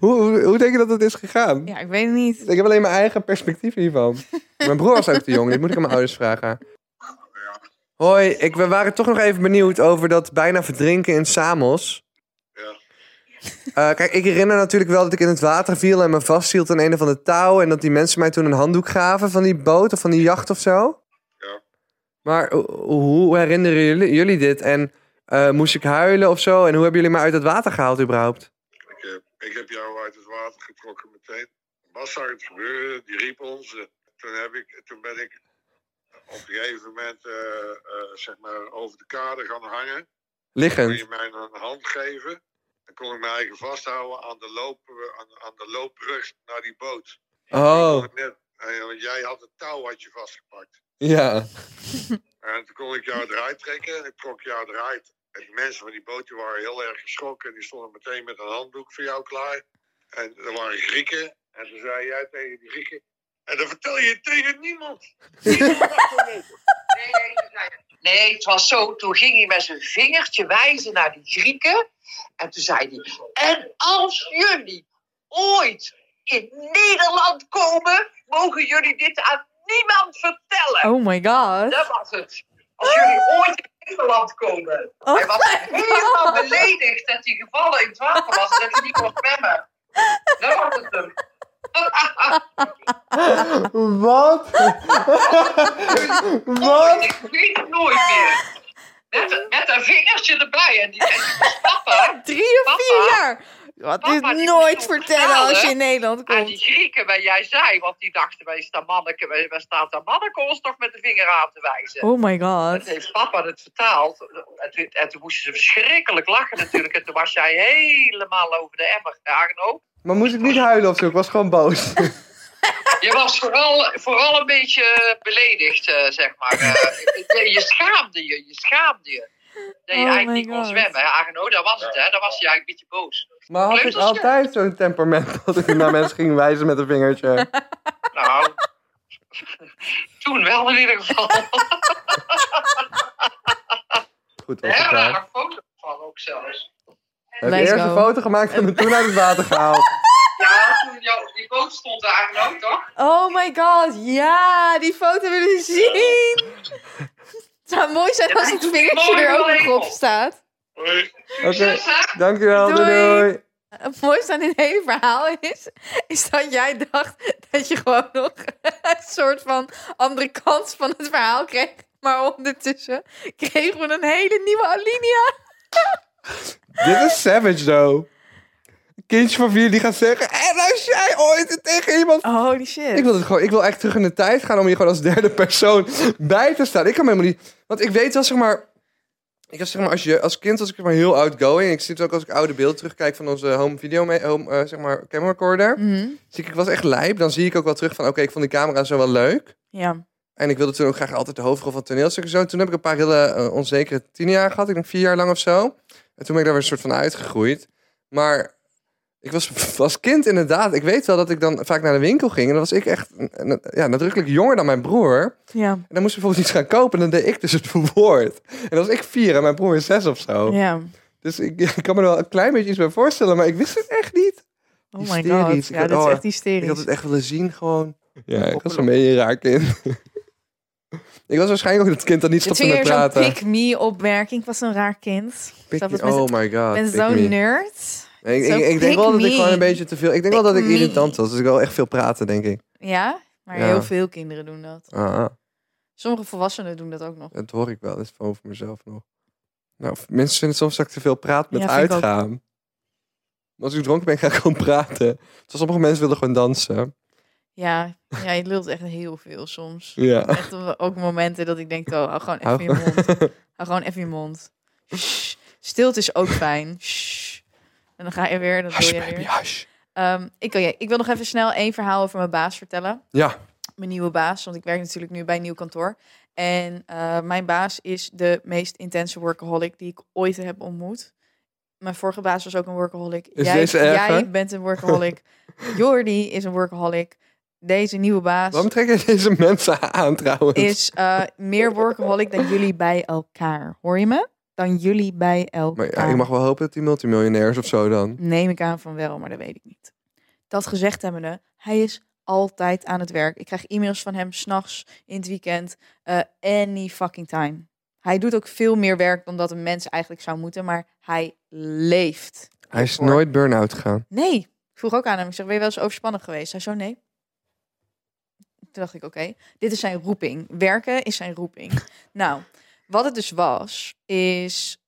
Speaker 2: hoe, hoe, hoe denk je dat het is gegaan?
Speaker 1: Ja, ik weet het niet.
Speaker 2: Ik heb alleen mijn eigen perspectief hiervan. Mijn broer was ook te jong, dit moet ik aan mijn ouders vragen. Hoi, ik, we waren toch nog even benieuwd over dat bijna verdrinken in Samos.
Speaker 4: Ja.
Speaker 2: Eh, kijk, ik herinner natuurlijk wel dat ik in het water viel en me vasthield aan een of ander touw. En dat die mensen mij toen een handdoek gaven van die boot of van die jacht of zo.
Speaker 4: Ja.
Speaker 2: Maar ho- hoe herinneren jullie, jullie dit? En eh, moest ik huilen of zo? En hoe hebben jullie mij uit het water gehaald überhaupt?
Speaker 4: Ik heb, ik heb jou uit het water getrokken meteen. Bas zag het gebeuren, die riep ons. Eh, Toen, heb ik, toen ben ik op een gegeven moment eh, eh, zeg maar over de kade gaan hangen. Kon
Speaker 2: Liggend.
Speaker 4: je mij een hand geven. Dan kon ik mijn eigen vasthouden aan de, loop, aan, aan de loopbrug naar die boot.
Speaker 2: Oh,
Speaker 4: Ik kon Net, eh, want jij had het touw had je vastgepakt.
Speaker 2: ja.
Speaker 4: En toen kon ik jou eruit trekken en ik trok jou eruit. En die mensen van die boot die waren heel erg geschrokken. En die stonden meteen met een handdoek voor jou klaar. En er waren Grieken. En toen zei jij tegen die Grieken... En dat vertel je tegen niemand. Niemand mag dat weten.
Speaker 5: Nee, het was zo. Toen ging hij met zijn vingertje wijzen naar die Grieken. En toen zei hij: En als jullie ooit in Nederland komen, mogen jullie dit aan niemand vertellen.
Speaker 1: Oh my god.
Speaker 5: Dat was het. Als jullie ooit in Nederland komen.
Speaker 1: Oh
Speaker 5: hij was
Speaker 1: my
Speaker 5: helemaal
Speaker 1: God.
Speaker 5: beledigd dat hij gevallen in het water was en dat hij niet kon zwemmen. Dat was het hem.
Speaker 2: Wat? Wat?
Speaker 5: Ik weet het nooit meer. Met, met een vingertje erbij. En die, en die was papa.
Speaker 1: Drie of vier
Speaker 5: Papa.
Speaker 1: jaar. Wat
Speaker 5: Papa,
Speaker 1: dit
Speaker 5: die moet
Speaker 1: nooit
Speaker 5: nog
Speaker 1: vertellen
Speaker 5: vertalen.
Speaker 1: als je in Nederland
Speaker 5: Aan
Speaker 1: komt.
Speaker 5: die Grieken waar jij zei, want die dachten, wij staan manneke, wij, wij staan daar manneke ons toch met de vinger aan te wijzen.
Speaker 1: Oh my
Speaker 5: Dat
Speaker 1: god.
Speaker 5: heeft papa het vertaald. En toen, en toen moesten ze verschrikkelijk lachen natuurlijk. En toen was jij helemaal over de emmer gegaan ook.
Speaker 2: Maar moest ik niet huilen of zo? Ik was gewoon boos.
Speaker 5: Je was vooral, vooral een beetje beledigd, eh, zeg maar. Eh, je, je schaamde je, je schaamde je. Dat je
Speaker 1: Oh my
Speaker 5: eigenlijk niet kon
Speaker 1: God.
Speaker 5: zwemmen. Agno, dat was het, hè. Dat was je eigenlijk een beetje boos.
Speaker 2: Maar had ik altijd zo'n temperament dat ik naar mensen ging wijzen met een vingertje?
Speaker 5: Nou, toen wel in ieder geval.
Speaker 2: Goed
Speaker 5: Heel
Speaker 2: opgeklaard.
Speaker 5: erg foto van ook zelfs.
Speaker 2: Heb je
Speaker 1: Let's
Speaker 2: eerst
Speaker 1: go.
Speaker 2: een foto gemaakt en me toen uit het water gehaald?
Speaker 5: Ja, toen jou, die boot stond daar eigenlijk ook, toch?
Speaker 1: Oh my god. Ja, die foto willen we zien. Het zou mooi zijn als het vingertje
Speaker 5: mooi
Speaker 1: er ook nog
Speaker 5: label.
Speaker 1: op staat.
Speaker 4: Hoi.
Speaker 5: Succes, hè?
Speaker 2: Dankjewel, doei
Speaker 1: Doei.
Speaker 2: doei.
Speaker 1: Het mooiste aan dit hele verhaal is, is dat jij dacht dat je gewoon nog een soort van andere kant van het verhaal kreeg. Maar ondertussen kregen we een hele nieuwe Alinea.
Speaker 2: Dit is savage, though. Een kindje van vier die gaat zeggen... En als jij ooit tegen iemand...
Speaker 1: Holy shit.
Speaker 2: Ik wil, het gewoon, ik wil echt terug in de tijd gaan om hier gewoon als derde persoon bij te staan. Ik kan me helemaal niet... Want ik weet wel, zeg maar... Ik was, zeg maar, als, je, als kind was ik zeg maar, heel outgoing. Ik zit ook als ik oude beelden terugkijk van onze home video... me- Home, eh, zeg maar, camera recorder.
Speaker 1: Mhm.
Speaker 2: Dus ik, ik was echt lijp. Dan zie ik ook wel terug van, oké, ik vond die camera zo wel leuk.
Speaker 1: Ja. en
Speaker 2: En ik wilde toen ook graag altijd de hoofdrol van toneelstukken zo. Toen heb ik een paar hele eh, onzekere tien jaar gehad. Ik denk vier jaar lang of zo. En toen ben ik daar weer een soort van uitgegroeid. Maar ik was als kind inderdaad... Ik weet wel dat ik dan vaak naar de winkel ging. En dan was ik echt een- een- ja, nadrukkelijk jonger dan mijn broer.
Speaker 1: Ja.
Speaker 2: En dan moest ik bijvoorbeeld iets gaan kopen. En dan deed ik dus het verwoord. En dan was ik vier en mijn broer is zes of zo.
Speaker 1: Ja. Oh
Speaker 2: Dus ik, ik kan me er wel een klein beetje iets bij voorstellen. Maar ik wist het echt niet.
Speaker 1: Oh my god.
Speaker 2: Hysterisch. Ik
Speaker 1: Ja,
Speaker 2: had-
Speaker 1: dit is echt
Speaker 2: oh, ik had
Speaker 1: hysterisch.
Speaker 2: het echt willen zien gewoon. Ja, ik was een beetje raar kind. ik was waarschijnlijk ook het kind dat niet
Speaker 1: Dit
Speaker 2: stopte
Speaker 1: vind
Speaker 2: met
Speaker 1: ik weer zo'n
Speaker 2: praten.
Speaker 1: pick-me-opmerking. Ik was een raar kind.
Speaker 2: Pick
Speaker 1: Dat
Speaker 2: me-
Speaker 1: was met-
Speaker 2: oh my god.
Speaker 1: Ik ben
Speaker 2: pick
Speaker 1: zo'n
Speaker 2: me.
Speaker 1: nerd.
Speaker 2: Ik,
Speaker 1: Zo'n
Speaker 2: ik, ik
Speaker 1: pick
Speaker 2: denk wel dat ik
Speaker 1: me.
Speaker 2: gewoon een beetje te veel... Ik denk wel
Speaker 1: Pick
Speaker 2: dat ik
Speaker 1: me.
Speaker 2: irritant was. Dus ik wil echt veel praten, denk ik.
Speaker 1: Ja? Maar
Speaker 2: Ja.
Speaker 1: heel veel kinderen doen dat.
Speaker 2: Ah,
Speaker 1: Sommige volwassenen doen dat ook nog.
Speaker 2: dat hoor ik wel. Dat is van over mezelf nog. Nou, mensen vinden soms dat ik te veel praat met
Speaker 1: Ja, vind ik ook.
Speaker 2: uitgaan. Maar Als ik dronken ben, ga ik gewoon praten. Terwijl sommige mensen willen gewoon dansen.
Speaker 1: Ja, ja je lult echt heel veel soms.
Speaker 2: Ja.
Speaker 1: Echt op- ook momenten dat ik denk, oh, hou gewoon even
Speaker 2: Hou-
Speaker 1: je mond. Hou gewoon even je mond. Shh. Stilte is ook fijn. Shh. En dan ga je weer, dat doe
Speaker 2: Hush,
Speaker 1: je
Speaker 2: baby,
Speaker 1: weer.
Speaker 2: hush.
Speaker 1: Ehm, ik, oh ja, ik wil nog even snel één verhaal over mijn baas vertellen.
Speaker 2: Ja.
Speaker 1: Mijn nieuwe baas, want ik werk natuurlijk nu bij een nieuw kantoor. En eh, mijn baas is de meest intense workaholic die ik ooit heb ontmoet. Mijn vorige baas was ook een workaholic.
Speaker 2: Is
Speaker 1: jij,
Speaker 2: deze erger?
Speaker 1: jij bent een workaholic. Jordi is een workaholic. Deze nieuwe baas
Speaker 2: Waarom trek je deze mensen aan, trouwens?
Speaker 1: is eh, meer workaholic dan jullie bij elkaar. Hoor je me? Dan jullie bij elkaar.
Speaker 2: Maar ja, ik mag wel hopen dat hij multimiljonair is of zo dan.
Speaker 1: Neem ik aan van wel, maar dat weet ik niet. Dat gezegd hebbende, hij is altijd aan het werk. Ik krijg e-mails van hem s'nachts, in het weekend, eh, any fucking time. Hij doet ook veel meer werk dan dat een mens eigenlijk zou moeten, maar hij leeft.
Speaker 2: Hij is
Speaker 1: Voor-
Speaker 2: nooit burn-out gegaan.
Speaker 1: Nee. Ik vroeg ook aan hem, ik zeg, ben je wel eens overspannen geweest? Hij zo, nee. Toen dacht ik, oké, dit is zijn roeping. Werken is zijn roeping. nou, wat het dus was, is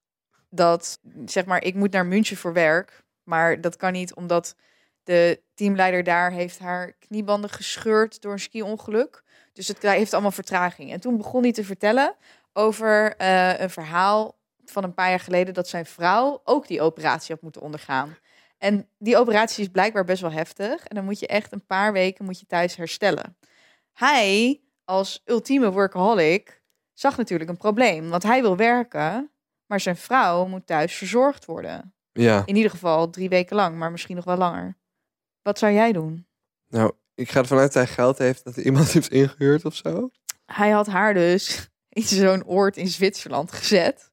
Speaker 1: dat, zeg maar, ik moet naar München voor werk. Maar dat kan niet, omdat de teamleider daar heeft haar kniebanden gescheurd door een ski-ongeluk. Dus het heeft allemaal vertraging. En toen begon hij te vertellen over eh, een verhaal van een paar jaar geleden... dat zijn vrouw ook die operatie had moeten ondergaan. En die operatie is blijkbaar best wel heftig. En dan moet je echt een paar weken moet je thuis herstellen. Hij, als ultieme workaholic, zag natuurlijk een probleem. Want hij wil werken, maar zijn vrouw moet thuis verzorgd worden.
Speaker 2: Ja,
Speaker 1: In ieder geval drie weken lang, maar misschien nog wel langer. Wat zou jij doen?
Speaker 2: nou, ik ga ervan uit dat hij geld heeft dat hij iemand heeft ingehuurd of zo.
Speaker 1: Hij had haar dus in zo'n oord in Zwitserland gezet.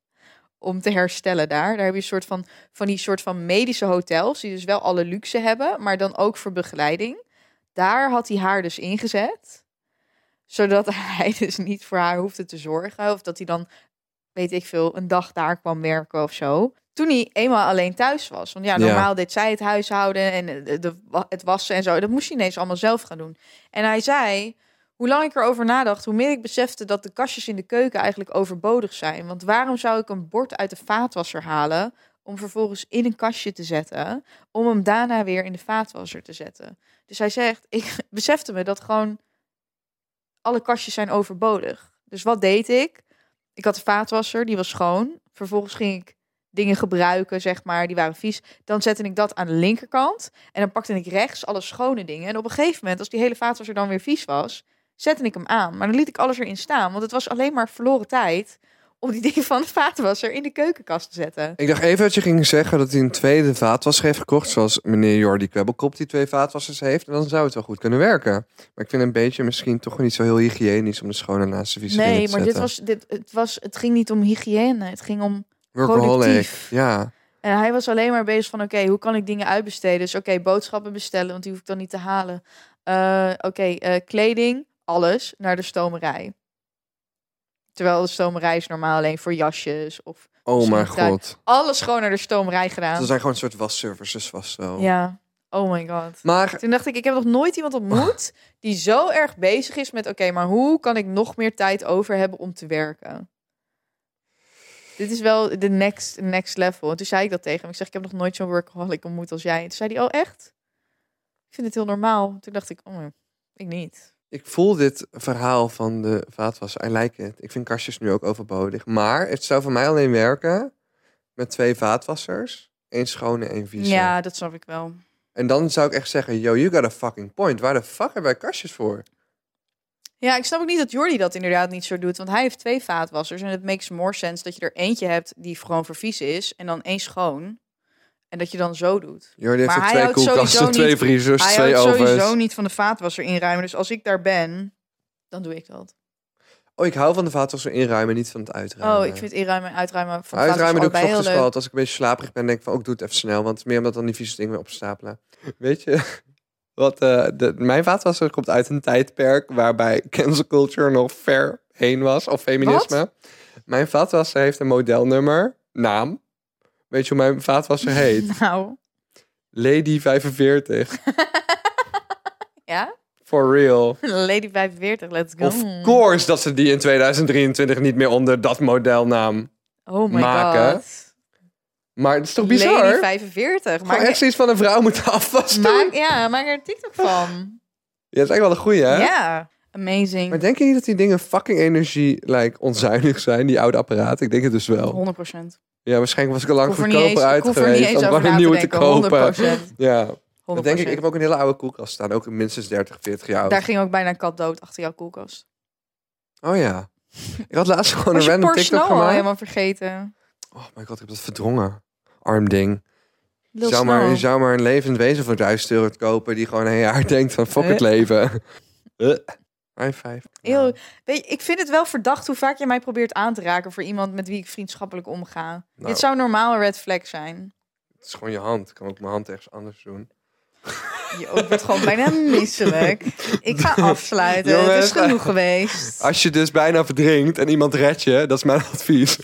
Speaker 1: Om te herstellen daar. Daar heb je een soort van, van die soort van medische hotels. Die dus wel alle luxe hebben. Maar dan ook voor begeleiding. Daar had hij haar dus ingezet. Zodat hij dus niet voor haar hoefde te zorgen. Of dat hij dan, weet ik veel, een dag daar kwam werken of zo. Toen hij eenmaal alleen thuis was. Want ja,
Speaker 2: Ja.
Speaker 1: normaal deed zij het huishouden en eh, de, wa- het wassen en zo. Dat moest hij ineens allemaal zelf gaan doen. En hij zei, hoe lang ik erover nadacht, hoe meer ik besefte dat de kastjes in de keuken eigenlijk overbodig zijn. Want waarom zou ik een bord uit de vaatwasser halen om vervolgens in een kastje te zetten, om hem daarna weer in de vaatwasser te zetten? Dus hij zegt, ik besefte me dat gewoon alle kastjes zijn overbodig. Dus wat deed ik? Ik had de vaatwasser, die was schoon. Vervolgens ging ik dingen gebruiken, zeg maar, die waren vies. Dan zette ik dat aan de linkerkant en dan pakte ik rechts alle schone dingen. En op een gegeven moment, als die hele vaatwasser dan weer vies was, zette ik hem aan. Maar dan liet ik alles erin staan, want het was alleen maar verloren tijd om die dingen van de vaatwasser in de keukenkast te zetten.
Speaker 2: Ik dacht even dat je ging zeggen dat hij een tweede vaatwasser heeft gekocht. Zoals meneer Jordi Kwebbelkop die twee vaatwassers heeft. En dan zou het wel goed kunnen werken. Maar ik vind een beetje misschien toch niet zo heel hygiënisch om de schone naast de vieze dingen
Speaker 1: Nee,
Speaker 2: te
Speaker 1: maar dit
Speaker 2: zetten.
Speaker 1: was, dit, het was, het ging niet om hygiëne, het ging om productief.
Speaker 2: Ja,
Speaker 1: En hij was alleen maar bezig van, oké, hoe kan ik dingen uitbesteden? Dus oké, boodschappen bestellen, want die hoef ik dan niet te halen. Eh, oké, eh, kleding, alles, naar de stomerij. Terwijl de stomerij is normaal alleen voor jasjes of...
Speaker 2: oh
Speaker 1: Misschien
Speaker 2: mijn
Speaker 1: een
Speaker 2: god.
Speaker 1: Alles gewoon naar de stomerij gedaan.
Speaker 2: Ze zijn gewoon een soort wasservices vast zo.
Speaker 1: Ja, oh my god.
Speaker 2: Maar
Speaker 1: Toen dacht ik, ik heb nog nooit iemand ontmoet die zo erg bezig is met... Oké, maar hoe kan ik nog meer tijd over hebben om te werken? Dit is wel de next, next level. En toen zei ik dat tegen hem. Ik zeg, ik heb nog nooit zo'n workaholic ontmoet als jij. En toen zei hij, oh echt? Ik vind het heel normaal. Toen dacht ik, oh, ik niet.
Speaker 2: ik voel dit verhaal van de vaatwasser. I like it. Ik vind kastjes nu ook overbodig. Maar het zou voor mij alleen werken met twee vaatwassers. Eén schone, één vieze.
Speaker 1: Ja, dat snap ik wel.
Speaker 2: En dan zou ik echt zeggen, yo, you got a fucking point. Waar de fuck hebben wij kastjes voor?
Speaker 1: Ja, ik snap ook niet dat Jordi dat inderdaad niet zo doet. Want hij heeft twee vaatwassers. En het makes more sense dat je er eentje hebt die gewoon vervies is. En dan één schoon. En dat je dan zo doet.
Speaker 2: Jordi heeft
Speaker 1: Maar
Speaker 2: er
Speaker 1: hij
Speaker 2: twee
Speaker 1: houdt
Speaker 2: koelkasten,
Speaker 1: sowieso
Speaker 2: twee
Speaker 1: niet-
Speaker 2: vriezers,
Speaker 1: hij
Speaker 2: twee
Speaker 1: houdt
Speaker 2: ovens.
Speaker 1: sowieso niet van de vaatwasser inruimen. Dus als ik daar ben, dan doe ik dat.
Speaker 2: Oh, ik hou van de vaatwasser inruimen, niet van het uitruimen.
Speaker 1: Oh, ik vind inruimen en uitruimen van de
Speaker 2: Uitruimen doe ik
Speaker 1: vaatwasser allebei heel
Speaker 2: ochtends wel.
Speaker 1: leuk.
Speaker 2: altijd. Als ik een beetje slaperig ben, denk ik van, ook doe het even snel. Want meer omdat dan die vieze dingen weer opstapelen. Weet je, wat, eh, de, mijn vaatwasser komt uit een tijdperk waarbij cancel culture nog ver heen was. Of feminisme. Mijn vaatwasser heeft een modelnummer, naam. Weet je hoe mijn vaatwasser heet?
Speaker 1: Nou,
Speaker 2: Lady 45.
Speaker 1: ja?
Speaker 2: For real.
Speaker 1: Lady 45, let's go.
Speaker 2: Of course dat ze die in 2023 niet meer onder dat model naam.
Speaker 1: oh my
Speaker 2: maken.
Speaker 1: god.
Speaker 2: Maar het is toch bizar?
Speaker 1: Lady
Speaker 2: Gewoon
Speaker 1: 45. Maak,
Speaker 2: echt zoiets van een vrouw moet afwassen.
Speaker 1: maak, ja, maak er een TikTok van.
Speaker 2: Ja, dat is eigenlijk wel een goeie, hè?
Speaker 1: Ja, amazing.
Speaker 2: Maar denk je niet dat die dingen fucking energie like, onzuinig zijn, die oude apparaten? Ik denk het dus wel.
Speaker 1: 100 procent.
Speaker 2: Ja, waarschijnlijk was ik al lang
Speaker 1: Ik hoef er niet eens,
Speaker 2: goedkoper
Speaker 1: ik
Speaker 2: uit
Speaker 1: hoef er niet
Speaker 2: geweest
Speaker 1: eens
Speaker 2: om
Speaker 1: over
Speaker 2: gewoon
Speaker 1: na
Speaker 2: een
Speaker 1: te
Speaker 2: nieuwe te
Speaker 1: denken.
Speaker 2: kopen.
Speaker 1: 100%.
Speaker 2: Ja,
Speaker 1: 100%.
Speaker 2: dat denk ik. Ik heb ook een hele oude koelkast staan, ook minstens 30, 40 jaar oud.
Speaker 1: Daar ging ook bijna een kat dood achter jouw koelkast.
Speaker 2: Oh ja. Ik had laatst gewoon
Speaker 1: Was
Speaker 2: een
Speaker 1: je
Speaker 2: random
Speaker 1: Porsche
Speaker 2: TikTok
Speaker 1: Snow al
Speaker 2: gemaakt.
Speaker 1: helemaal vergeten?
Speaker 2: Oh my god, ik heb dat verdrongen. Arm ding.
Speaker 1: Lil
Speaker 2: Zou maar,
Speaker 1: Snow.
Speaker 2: je zou maar een levend wezen voor 1000 euro kopen die gewoon een jaar denkt van fuck het
Speaker 1: Eh.
Speaker 2: leven. Eh. High five.
Speaker 1: Heel, weet je, ik vind het wel verdacht hoe vaak je mij probeert aan te raken voor iemand met wie ik vriendschappelijk omga.
Speaker 2: Nou.
Speaker 1: Dit zou normaal een red flag zijn.
Speaker 2: Het is gewoon je hand. Ik kan ook mijn hand ergens anders doen.
Speaker 1: Je ook wordt gewoon bijna misselijk. Ik ga afsluiten. het
Speaker 2: Jongens,
Speaker 1: is genoeg geweest.
Speaker 2: Als je dus bijna verdrinkt en iemand redt je, dat is mijn advies.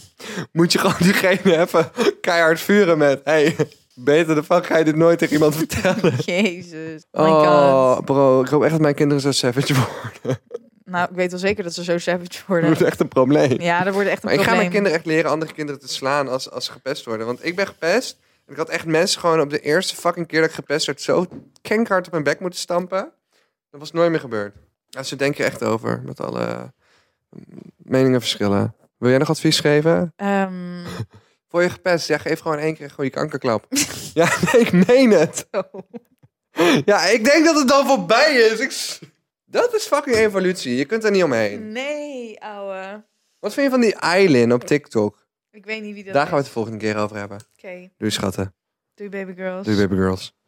Speaker 2: Moet je gewoon diegene even keihard vuren met... hey, beter de fuck ga je dit nooit tegen iemand vertellen.
Speaker 1: Jezus. Oh my
Speaker 2: Oh,
Speaker 1: god.
Speaker 2: bro, ik hoop echt dat mijn kinderen zo savage worden.
Speaker 1: Nou, ik weet wel zeker dat ze zo savage
Speaker 2: Dat
Speaker 1: worden.
Speaker 2: wordt echt een probleem.
Speaker 1: Ja, dat wordt echt een
Speaker 2: Maar ik ga
Speaker 1: probleem.
Speaker 2: mijn kinderen echt leren andere kinderen te slaan als, als ze gepest worden. Want ik ben gepest. En ik had echt mensen gewoon op de eerste fucking keer dat ik gepest werd zo kenkhard op mijn bek moeten stampen. Dat was nooit meer gebeurd. Ja, ze denken echt over met alle mm, meningenverschillen. Wil jij nog advies geven?
Speaker 1: Ehm,
Speaker 2: Voor je gepest? Ja, geef gewoon één keer gewoon je kankerklap. ja, nee, ik meen het. Ja, ik denk dat het dan voorbij is. Ik... s- Dat is fucking evolutie. Je kunt er niet
Speaker 1: Mm.
Speaker 2: omheen.
Speaker 1: Ehm, nee, ouwe.
Speaker 2: Wat vind je van die Eileen op TikTok?
Speaker 1: Ik weet niet wie dat
Speaker 2: Daar
Speaker 1: is.
Speaker 2: gaan we het de volgende keer over hebben.
Speaker 1: Oké,
Speaker 2: Doei schatten.
Speaker 1: doei baby girls.
Speaker 2: Doei baby girls.